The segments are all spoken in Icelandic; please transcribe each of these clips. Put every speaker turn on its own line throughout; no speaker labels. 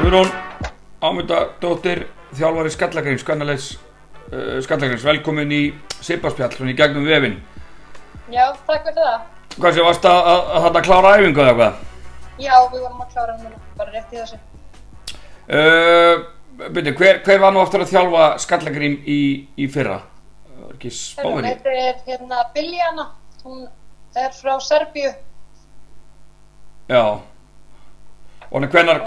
Guðrún Ámundadóttir Þjálfari Skallagreins Skannalegs uh, Skallagreins Velkomin í Sipaspjall Svona í gegnum vefin
Já, takk fyrir það.
Hvað sé, varst að, að, að þetta klára æfingu eða hvað?
Já, við vorum að klára núna, bara rétt í þessu.
Uh, byrju, hver, hver var nú aftur að þjálfa Skallagrím í, í fyrra? Það var ekki
Hún
spáðinni
heitir hérna Biljana, hún er frá Serbíu,
Já Og hann hvenar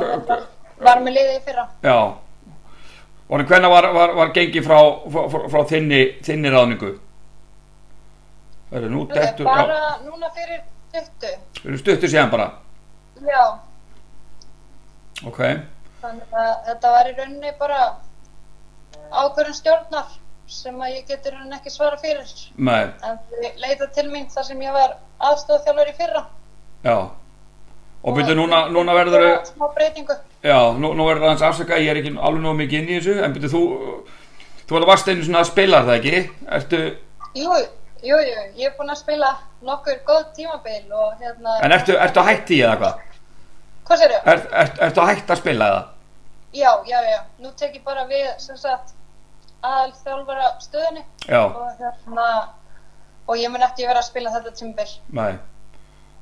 var með liðið í fyrra.
Já Og hann hvenar var, var, var gengið frá, frá, frá þinni, þinni ráðningu? Það er nú
Hún er
dettur
bara
já,
núna fyrir 20.
Við erum stuttur síðan bara
Já,
Ok
þannig að þetta var í rauninni bara ákvörðun stjórnar sem að ég getur hann ekki svara fyrir.
Nei,
En þau leita til mín þar sem ég var aðstofþjálfur í fyrra.
já Og byrju, núna, núna verður
Smá breytingu.
Já, nú, nú verður það hans afsaka Ég er ekki alveg nóg mikið inn í þessu En byrju, þú Þú var varst einu svona að spila það ekki Ertu
Jú, jú, jú, ég er búin að spila nokkur góð tímabil og hérna...
En ertu, ertu að hætti í eða hvað?
Hvað sér ég?
Er, er, ertu að hætta að spila eða?
Já, já, já, nú tek ég bara við, sem sagt, aðal þjálfara stöðinni
Já,
og hérna... Og ég mun ekki vera að spila þetta tímabil.
nei.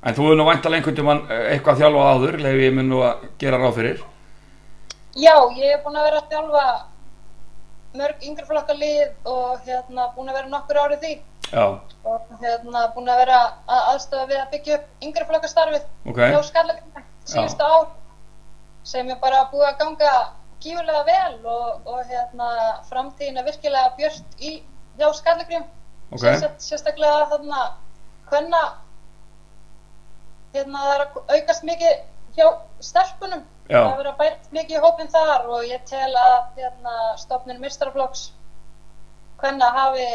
En þú hefur nú væntalega einhvern tímann eh, eitthvað að þjálfa áður, leif ég mun nú að gera ráð fyrir.
Já, ég er búin að vera að þjálfa mörg yngri flokka lið og hérna búin að vera nokkur árið því
Já,
og hérna búin að vera að aðstofa við að byggja upp yngri flokka starfið
ok.
hjá Skallagrinda síðustu ár sem er bara búið að ganga gífurlega vel og, og hérna, framtíðin er virkilega björt í hjá Skallagrim
Ok.
sérstaklega þarna hvenna hérna það er að aukast mikið hjá stelpunum
Já.
það er að bært mikið í hópin þar og ég tel að hérna, stofnun mistaraflokks hvenna hafi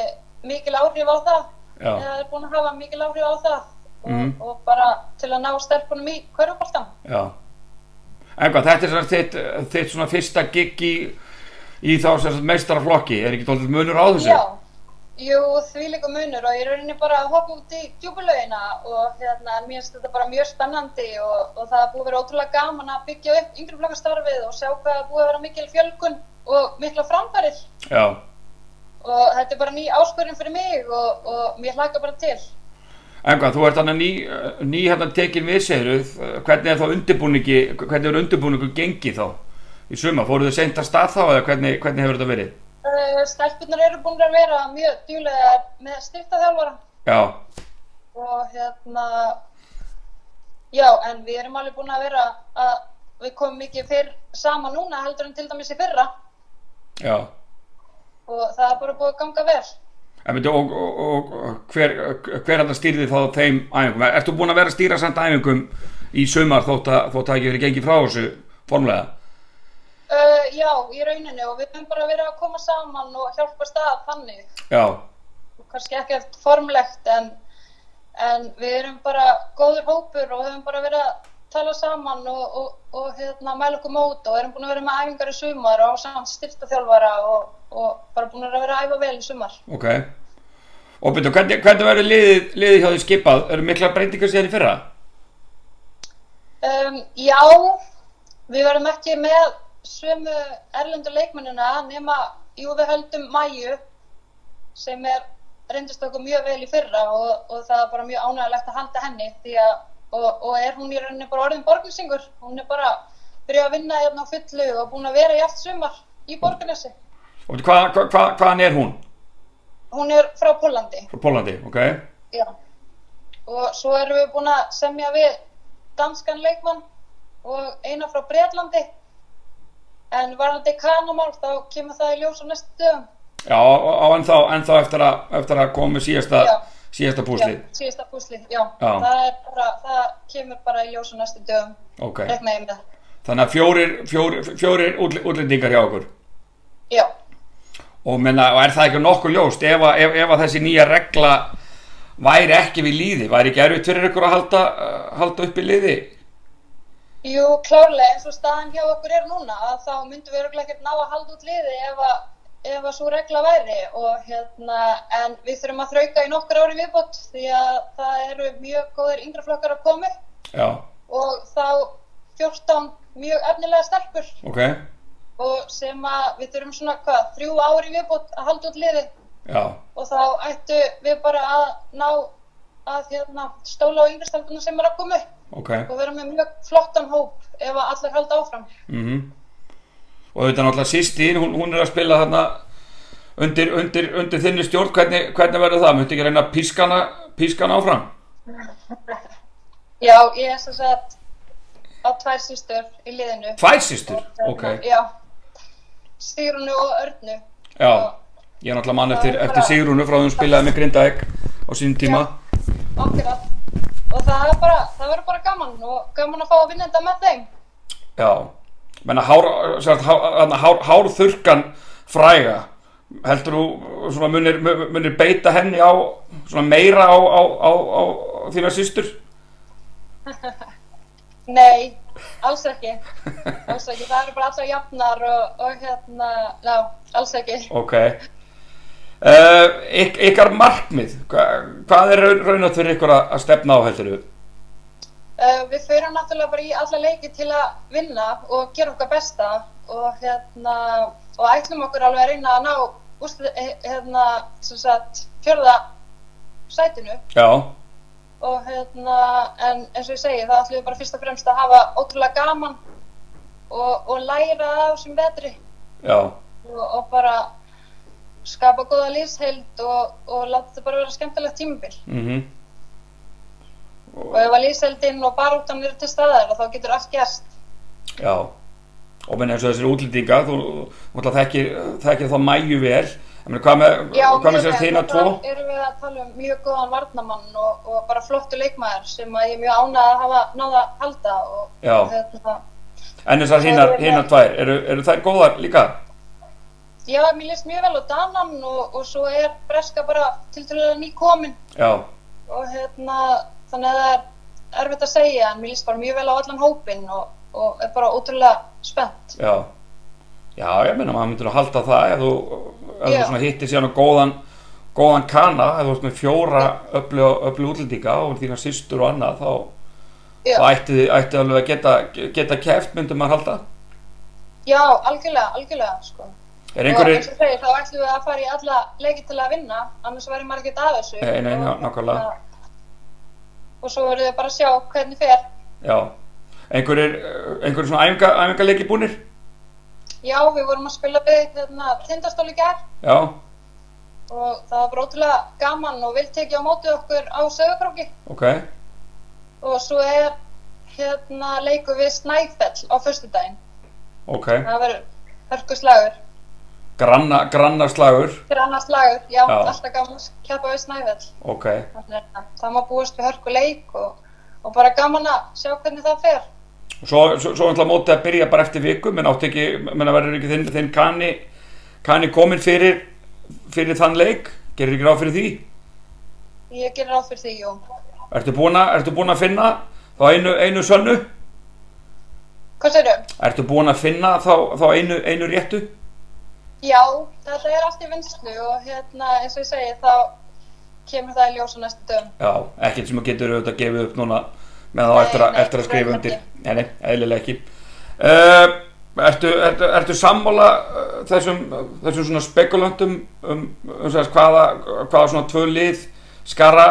mikil áhrif á það
Já,
það er búin að hafa mikil áhrif á það og,
Mhm.
og bara til að ná stelpunum í hverjuboltan
já. En hvað, þetta er svona þitt, þitt svona fyrsta gig í, í þá sem sagt meistaraflokki, er ekki tóldið munur á þessu?
já, jú því líka munur og ég er rauninni bara að hoppa út í djúbulögina og hérna, en mér finnst þetta bara mjög spennandi og, og það er búið að vera ótrúlega gaman að byggja upp yngri flokkastarfið og sjá hvað er búið að vera mikil fjölgun og mikla framfærir
Já,
og þetta er bara ný áskurinn fyrir mig og, og mér hlaka bara til
en hvað, þú ert hann að ný, eh, ný hérna tekin við segirðu, eh, hvernig er þá undirbúningi, hvernig er undirbúningu gengið þá? Í suma, fóruðu seint að stað þá eða hvernig, hvernig hefur þetta verið?
uh, stelpunar eru búin að vera mjög djúlegar með styrtaþjálfara
Já,
og hérna já, en við erum alveg búin að vera að við komum mikið fyrr saman núna heldur en til dæmis í fyrra
já.
og það er bara búið að ganga vel
En veitu, og, og, og og hver, hver hann stýrði þá þeim æfingum? Er- Ertu búin að vera að stýra samt æfingum í sumar þótt að þótt að ekki verið gengið frá þessu formulega?
uh, já, í rauninni og við höfum bara verið að koma saman og hjálpa stað þannig
Já,
og kannski ekkert formlegt en, en við erum bara góður hópur og höfum bara verið að tala saman og, og, og hérna, mæla okkur mót og erum búin að vera með æfingar í sumar og samt styrtaþjálfara og, og bara búin að vera að æfa vel í sumar
ok. Og byrju, hvernig, hvernig verður liðið, liðið hjá því skipað? Eru mikla breytingar síðan í fyrra?
Um, já, við verðum ekki með sömu erlendu leikmennina nema, jú við höldum Mæju sem er reyndist okkur mjög vel í fyrra og, og það er bara mjög ánægilegt að halda henni því að, og, og er hún í rauninni bara orðin borgarsingur, hún er bara byrjuð að vinna hérna á fullu og búin að vera í allt sumar í borgarnesi.
Og byrju, hvað, hvað, hvað, hvaðan er hún?
Hún er frá Pólandi.
Frá Pólandi, ok?
Já, og svo erum við búin að semja við danskan leikmann og eina frá Breitlandi en varandi kanamál þá kemur það í ljós á næstu dögum
Já, á- á ennþá, ennþá eftir að, eftir að koma með síðasta,
Já.
síðasta
Já,
púslið.
síðasta púsli, já,
Já.
Það, er bara, það kemur bara í ljós á næstu dögum
Ok,
reikna ég með, það.
þannig að fjórir, fjórir, fjórir útl- útlendingar hjá okkur.
já
og, menna, og er það ekki nokkuð ljóst ef, að- ef, ef að þessi nýja regla væri ekki við líði væri ekki erfitt fyrir ykkur að halda, uh, halda upp í liði
Jú, klárlega, eins og staðan hjá okkur er núna að þá myndum við örugglega ekkert ná að halda út liði ef að, ef að svo regla væri og hérna, en við þurfum að þrauka í nokkur ári viðbót því að það eru mjög góðir yngraflokkar að koma upp
já,
og þá 14 mjög efnilega stelpur
ok,
og sem að við þurfum svona hvað, þrjú ári viðbútt að halda út liðið
já,
og þá ættu við bara að ná að hérna, stóla á yngrestelpunum sem er að koma upp
ok
og vera með mjög flottan hóp ef að allar halda áfram.
mhm og þetta er náttúrulega sýstín, hún, hún er að spila þarna undir, undir, undir þinni stjórn hvernig, hvernig verður það, möntu ekki reyna að píska hana, píska hana áfram
Já, ég er sem sagt á tvær sýstur í liðinu.
tvær sýstur, ok,
Já, Sigrunu og Örnu.
já ég er náttúrulega mann eftir, eftir Sigrúnu frá því hún spilaði með Grindavík á sínum tíma
Akkurat. Og það er bara, það verður bara gaman og gaman að fá að vinna þetta með þeim.
Já, menna hár, sagt, hár, þarna hár, hár þurkan fræga heldur þú svona munir, mu- munir beita henni á svona meira á, á, á, á þína systur
Nei, alls ekki. Alls ekki, það eru bara allar jafnar og, og hérna, já, alls ekki.
ok uh, yk, ykkar markmið hva, hvað er raun- raunat fyrir ykkur að, að stefna á heldur þú
Uh, við förum náttúrulega bara í alla leiki til að vinna og gera okkar besta og hérna og ætlum okkur alveg að reyna að ná úst, hérna, sem sagt, fjörða sætinu
já,
og hérna, en eins og ég segi, það ætlum við bara fyrst og fremst að hafa ótrúlega gaman og, og læra af þessum vetri
já,
og, og bara skapa góða lífsheild og, og láta þetta bara vera skemmtilegt tímabil
mhm
og ef að lífsheildin og baráttan eru til staðar þá getur allt gerst
Já, og menn eins og þessir útlýtingar, þú þú náttúrulega þekkir, þekkir þá mæju vel, ég meina hvað með,
Já,
hvað með
mjög
sérst
vel.
þína tvo?
Þar erum við að tala um mjög góðan varnamann og, og bara flottu leikmaður sem að ég er mjög ánað að hafa náða að halda og,
Já.
og hérna,
En þessar hinar,
Þær eru-
hinar tvær, eru, eru þær góðar líka?
já, mér líst mjög vel á Danan og, og svo er Breska bara til trúlega nýkomin
Já,
og hérna, þannig að það er erfitt að segja en mér líst bara mjög vel á allan hópin og, og er bara ótrúlega spennt.
já. Já, ég meina, maður myndur að halda það ef þú, ef þú
Já.
svona hittir síðan á góðan, góðan kana, ef þú ert með fjóra öflu, öflu útlýtinga og þína systur og annað, þá,
Já,
þá ætti, þið- ætti alveg að geta, geta keft, myndur maður halda.
já algjörlega, algjörlega, sko.
Er
og
einhverjir,
eins og segir, þá ætlum við að fara í alla leiki til að vinna, annars verður maður ekkert að þessu.
Nei, nei,
Og-
ná- nákvæmlega.
Og svo verður við bara að sjá hvernig fer.
já, einhverjir, einhverjir svona æfinga, æfingarleiki búnir?
Já, við vorum að spila við hérna, tindastóli gær
Já,
og það var bara ótrúlega gaman og vilt tekið á móti okkur á sögurkróki.
ok,
Og svo er hérna leiku við Snæfell á föstudaginn.
ok.
Það verður hörkuslagur,
Granna, grannaslagur,
fyrir annars slagur, já,
Já.
alltaf gaman að keppa við Snæfell.
ok.
Þannig að það má búast við hörkuleik og, og bara gaman að sjá hvernig það fer.
Svo, svo, svo ætla mótið að byrja bara eftir viku, menn átti ekki, menn að verður ekki þinn, þinn kanni, kanni komin fyrir, fyrir þann leik, gerir ekki ráð fyrir því.
Ég gerir ráð fyrir því, jú.
Ertu búin að, ertu búin að finna þá einu, einu sönnu?
Hvað segirðu?
Ertu búin að finna þá, þá einu, einu réttu?
Já, þetta er allt í vinslu og hérna, eins og ég segi, þá kemur það í ljós á næstu dögum.
Já, ekkert sem þú getur auðvitað að gefa upp núna með þá
Nei,
eftir, að
nei,
eftir að
nei,
skrifa
nei,
undir.
ekki.
Nei, nei, eðlilega ekki. Uh, ertu, ertu, ertu sammála eh, þessum, þessum svona spekulöntum um, um, um sagðist, hvaða, hvaða svona tvö lið skara,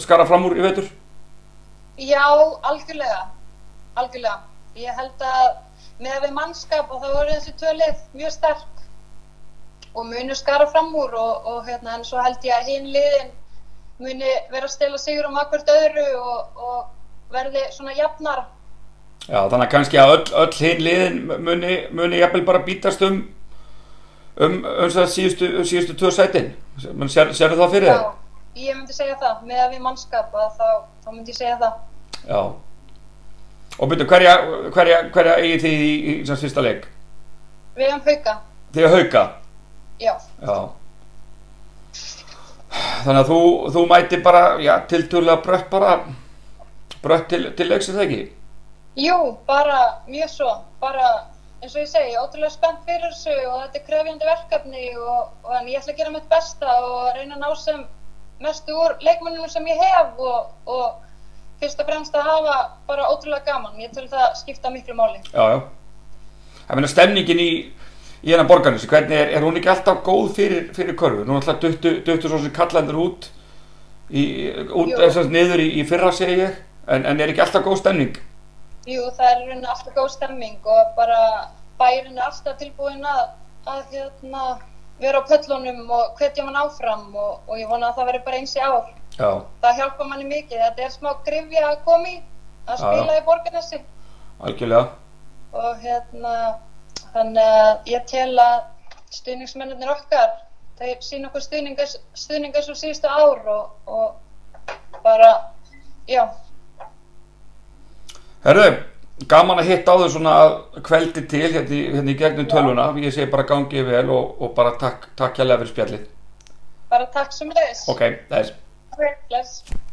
skara fram úr í veitur?
Já, algjörlega, algjörlega. Ég held að með við mannskap og þá voru þessi tölið mjög sterk og munu skara fram úr og, og hérna, en svo held ég að hinn liðin muni vera að stela sigur um akkvart öðru og, og verði svona jafnar.
Já, þannig að kannski að öll, öll hinn liðin muni, muni jafnvel bara bítast um um, um sagðist, síðustu, síðustu tvö sætin. Sér, sérðu það fyrir þér?
Já, ég myndi segja það, með við mannskap að þá, þá myndi ég segja það.
Já. Og byrju, hverja, hverja, hverja eigið þið í, í, í sem sagt fyrsta leik?
Við höfum hauka,
Þið að hauka?
já.
Já. Þannig að þú, þú mæti bara, já, tiltölulega brött bara, brött til, til leiks er það ekki?
Jú, bara mjög svo, bara eins og ég segi, ótrúlega spennt fyrir þessu og þetta er krefjandi verkefni og, og en ég ætla að gera mitt besta og reyna að ná sem mestu úr leikmennunum sem ég hef og, og fyrst og fremst að hafa bara ótrúlega gaman. Ég tel það skipta miklu máli.
Já, já. Það meina stemningin í, í hennar borgarnesi, hvernig er, er hún ekki alltaf góð fyrir, fyrir körfu? Nú alltaf duttu, duttu svo sem kallendur út, í, út
Jú.
eða sem sagt niður í, í fyrra segi ég, en, en er ekki alltaf góð stemning?
Jú, það er í rauninni alltaf góð stemming og bara bærin er alltaf tilbúin að, að hérna, vera á pöllunum og hvetja mann áfram og, og ég vona að það verði bara eins í ár.
Já,
Það hjálpa manni mikið. Þetta er smá grifja að koma í að
Já, já.
spila í borgarnesi
algjörlega.
og hérna, þannig að ég tel að stuðningsmennir okkar, þeir sína okkur stuðningas, stuðningas og síðustu ár og, og bara, já,
Herðu, gaman að hitta á þau svona að kveldi til hérna, í- hérna í gegnum tölvuna. Ég segi bara gangið vel og, og bara takk, takk hérlega fyrir spjallið.
bara takk sem leis.
Ok, þess.
Okay. Bless.